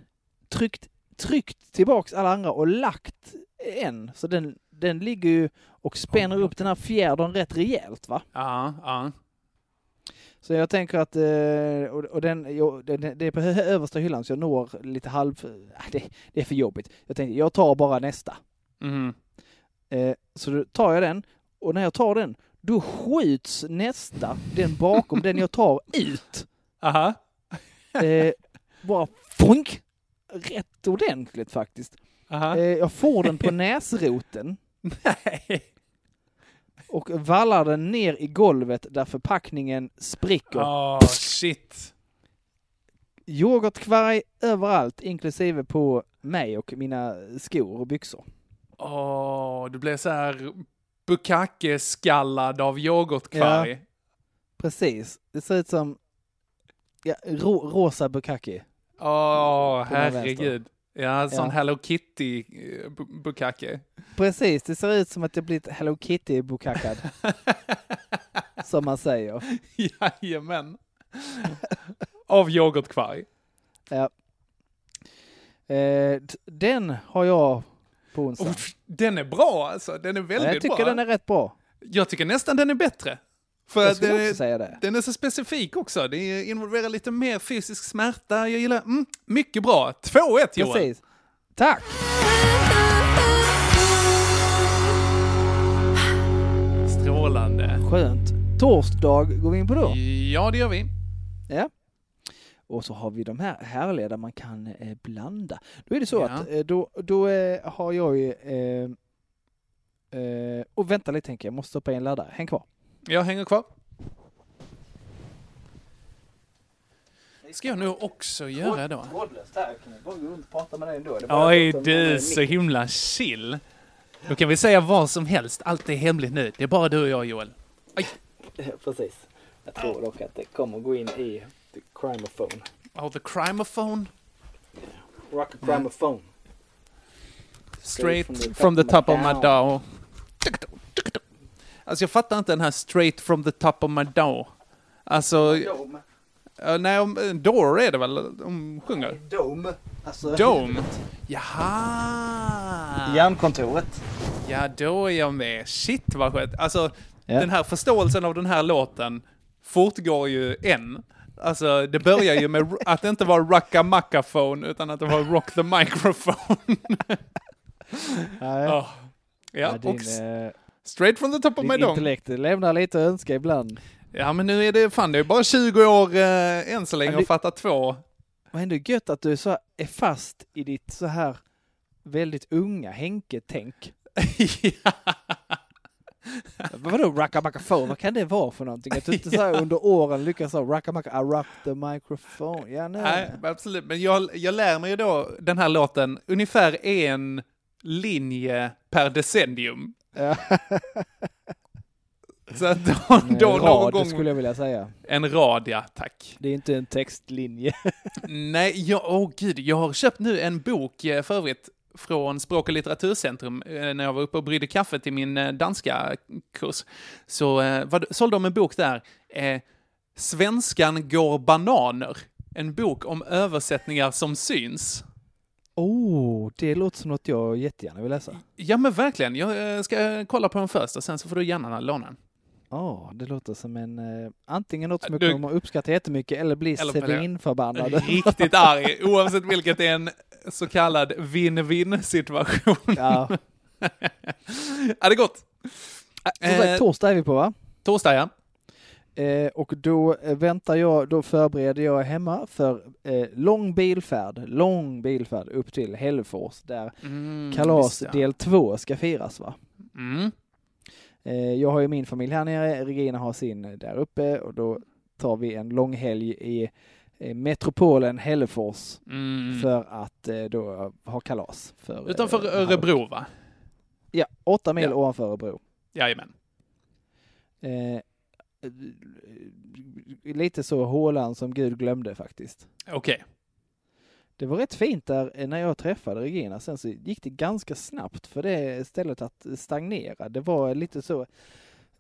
tryckt, tryckt tillbaks alla andra och lagt en. Så den, den ligger ju och spänner upp den här fjädern rätt rejält va?
Ja, ja.
Så jag tänker att, eh, och, och den, jo, den, den, det är på hö- översta hyllan så jag når lite halv, ah, det, det är för jobbigt. Jag tänkte, jag tar bara nästa.
Mm.
Eh, så då tar jag den och när jag tar den då skjuts nästa, den bakom den jag tar, ut.
Aha.
Eh, bara funk! Rätt ordentligt faktiskt.
Aha.
Eh, jag får den på näsroten
Nej.
och vallar den ner i golvet där förpackningen spricker.
Åh, shit.
Yoghurtkvarg överallt, inklusive på mig och mina skor och byxor.
Åh, du blev så här bukake-skallad av yoghurtkvarg.
Ja. Precis, det ser ut som ja, ro, rosa bukake.
Åh,
den vänster.
herregud. Ja, sån
Ja.
Hello eh, Kitty-bukake.
Precis, det ser ut som att jag blivit Hello Kitty-bukakad. som man säger.
Jajamän. Av yoghurtkvarg.
Ja. Eh, t- den har jag på onsdag.
Oh, den är bra alltså, den är väldigt
jag tycker
bra.
den är rätt bra.
Jag tycker nästan den är bättre. För
Jag
att
skulle
den,
också
är,
säga det.
den är så specifik också, det involverar lite mer fysisk smärta. Jag gillar, mm, mycket bra. 2-1 Johan.
Precis. Tack!
Strålande.
Skönt. Torsdag går vi in på då.
Ja, det gör vi.
Ja. Och så har vi de här härliga där man kan eh, blanda. Då är det så
Ja.
att eh, då, då eh, har jag ju... Eh, eh, och vänta lite tänker jag, jag måste stoppa i en laddare. Häng kvar.
Jag hänger kvar. Ska jag nu också göra då?
Trådlöst här, jag kan bara gå runt och prata med dig ändå.
Oj, du är så himla chill. Då kan vi säga vad som helst. Allt är hemligt nu. Det är bara du och jag, Joel.
Precis. Jag tror dock att det kommer gå in i the crimeophone.
Oh, the crimeophone.
Rock a crimeophone.
Straight from the top of my dow. Alltså jag fattar inte den här straight from the top of my dow. Alltså, eh, nej, om- eh, door är det väl de sjunger?
Dome. Alltså,
Dome? Jaha!
Hjärnkontoret.
Ja, då är jag med. Shit vad skönt. Alltså,
Ja.
den här förståelsen av den här låten fortgår ju än. Alltså, det börjar ju med att det inte var rocka mackaphone utan att det var rock the microphone.
Ja,
Ja, ja
din,
och
eh,
straight from the top of my
din
dong.
intellekt lämnar lite att önska ibland.
Ja, men nu är det fan, det är bara 20 år eh, än så länge
Ja,
och
det-
fatta två.
Vad ändå gött att du är, så, är fast i ditt så här väldigt unga Henke-tänk.
ja.
Vadå rackabackafon? Vad kan det vara för någonting? Att du inte så här under åren lyckas ha rackabacka, I rock the microphone. Ja, nej.
Nej, men absolut. Men jag, jag lär mig ju då den här låten ungefär en linje per decennium. Så att då, då
en
någon
rad
gång...
skulle jag vilja säga.
En rad, ja. Tack.
Det är inte en textlinje.
Nej, jag, åh gud, jag har köpt nu en bok eh, för övrigt från Språk och litteraturcentrum eh, när jag var uppe och brydde kaffe till min eh, danska kurs. Så eh, vad, sålde de en bok där. Eh, Svenskan går bananer. En bok om översättningar som syns.
Oh, det låter som något jag jättegärna vill läsa.
Ja men verkligen, jag eh, ska kolla på den först och sen så får du gärna låna den.
Ja, det låter som en... Eh, antingen något som jag
Du-
kommer att uppskatta jättemycket eller bli
Eller vad det är.
svinförbannad.
Riktigt arg, oavsett vilket, det är en så kallad vinn-vinn situation.
Ja.
Ja, det är gott.
Som sagt, torsdag är vi på va?
Eh, torsdag ja.
Eh, och då eh, väntar jag, då förbereder jag hemma för eh, lång bilfärd, lång bilfärd upp till Hällefors där
Mm,
kalas
visst, ja.
del två ska firas va?
Mm.
Eh, jag har ju min familj här nere, Regina har sin eh, där uppe och då tar vi en lång helg i eh, metropolen Hällefors
Mm.
för att eh, då ha kalas. För,
Utanför
eh, här-
Örebro va?
Ja, åtta mil
Ja.
ovanför Örebro.
Jajamän.
Eh, lite så hålan som Gud glömde faktiskt.
Okej.
Det var rätt fint där eh, när jag träffade Regina. Sen så gick det ganska snabbt för det stället att stagnera. Det var lite så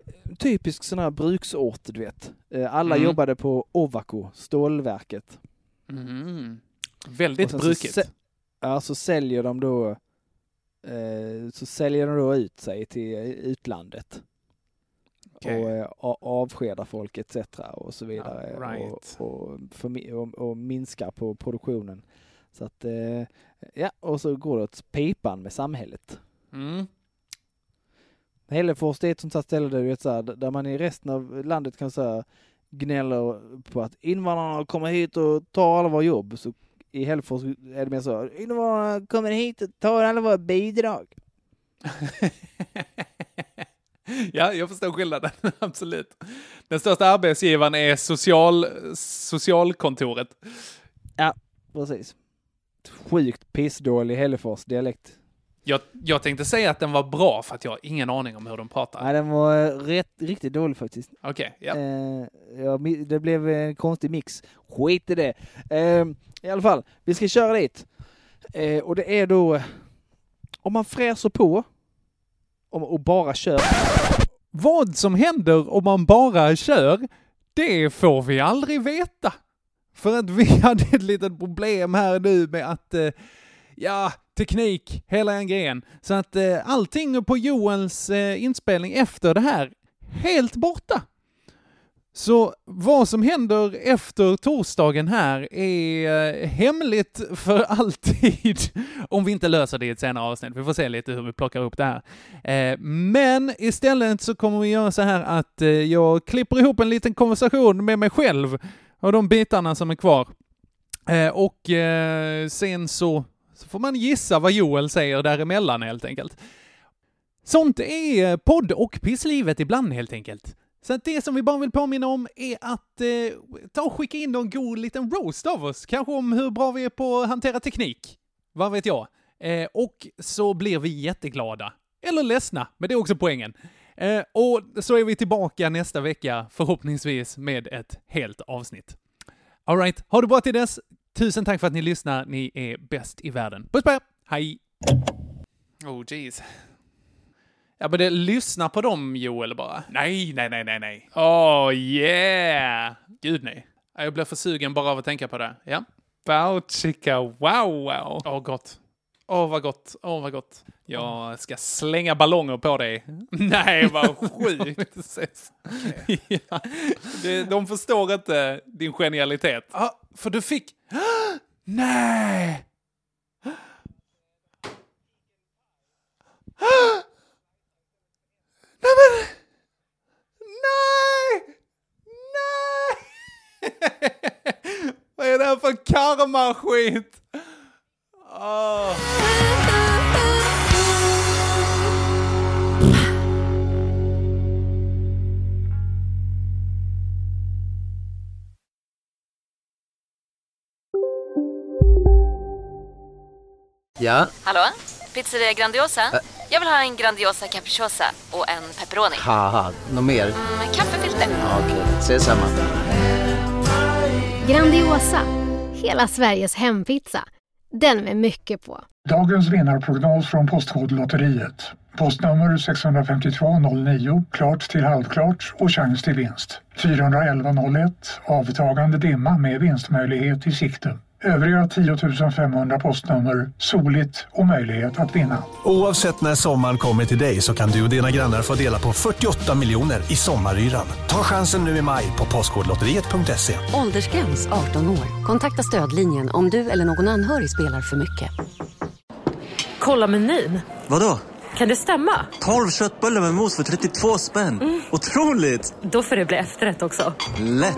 eh, typisk sån här bruksort, du vet. Eh, Alla
Mm.
jobbade på Ovako, stålverket.
Mm. Väldigt
Och sen så
brukigt.
sä- Ja, så säljer de då eh, så säljer de då ut sig till eh, utlandet
Okej.
och eh, a- avskedar folk etc. och så vidare
Ja, right.
och, och, förmi- och, och minskar på produktionen. Så att, eh, ja, och så går det åt pipan med samhället.
Mm.
Hällefors det är ett sånt här ställe där, du vet, så här, där man i resten av landet kan säga gnäller på att invandrarna kommer hit och tar alla våra jobb. Så I Hällefors är det mer så invandrarna kommer hit och tar alla våra bidrag.
ja, jag förstår skillnaden. Absolut. Den största arbetsgivaren är social, socialkontoret.
Precis. Sjukt pissdålig Hällefors dialekt.
Jag, jag tänkte säga att den var bra för att jag har ingen aning om hur de pratar.
Nej, den var eh, rätt, riktigt dålig faktiskt.
Okej, ja.
Eh, ja, mi- det blev en konstig mix. Skit i det. Eh, I alla fall, vi ska köra dit. Eh, och det är då... Om man fräser på om, och bara kör...
Vad som händer om man bara kör, det får vi aldrig veta. För att vi hade ett litet problem här nu med att, eh, ja, teknik, hela den grejen. Så att eh, allting på Joels eh, inspelning efter det här, helt borta. Så vad som händer efter torsdagen här är eh, hemligt för alltid om vi inte löser det i ett senare avsnitt. Vi får se lite hur vi plockar upp det här. Eh, Men istället så kommer vi göra så här att eh, jag klipper ihop en liten konversation med mig själv och de bitarna som är kvar. Eh, Och eh, sen så, så får man gissa vad Joel säger däremellan helt enkelt. Sånt är eh, podd och pisslivet ibland helt enkelt. Så att det som vi bara vill påminna om är att eh, ta och skicka in någon god liten roast av oss. Kanske om hur bra vi är på att hantera teknik. Vad vet jag? Eh, och så blir vi jätteglada. Eller ledsna, men det är också poängen. Eh, och så är vi tillbaka nästa vecka, förhoppningsvis med ett helt avsnitt. Alright, ha det bra till dess. Tusen tack för att ni lyssnar. Ni är bäst i världen. Puss på er! Hej! Oh jeez. Ja, men det, lyssna på dem, Joel, bara. Nej, nej, nej, nej, nej. Oh yeah! Gud, nej. Ja, Jag blev för sugen bara av att tänka på det. Ja. Bauchika, wow, wow. Åh, gott. Åh, vad gott. Åh, vad gott. Jag ska slänga ballonger på dig. Nej, vad sjukt. Precis. ja. de, de förstår inte din genialitet. Ah, för du fick... nej! Nej men! Nej! Nej! Vad är det här för karma-skit? Åh.
Ja,
Hallå? Pizzeria Grandiosa? Jag vill ha en Grandiosa capriciosa och en pepperoni.
haha, något mer?
Med kaffefilter.
Ja, Okej, ses samma.
Grandiosa, hela Sveriges hempizza. Den med mycket på.
Dagens vinnarprognos från Postkodlotteriet. Postnummer 65209, klart till halvklart och chans till vinst. 41101, avtagande dimma med vinstmöjlighet i sikte. Övriga 10 500 postnummer, soligt och möjlighet att vinna.
Oavsett när sommaren kommer till dig så kan du och dina grannar få dela på 48 miljoner i sommaryran. Ta chansen nu i maj på Postkodlotteriet.se.
Åldersgräns 18 år. Kontakta stödlinjen om du eller någon anhörig spelar för mycket.
Kolla menyn.
Vadå?
Kan det stämma?
12 köttbullar med mos för 32 spänn. Otroligt!
Då får det bli efterrätt också.
Lätt!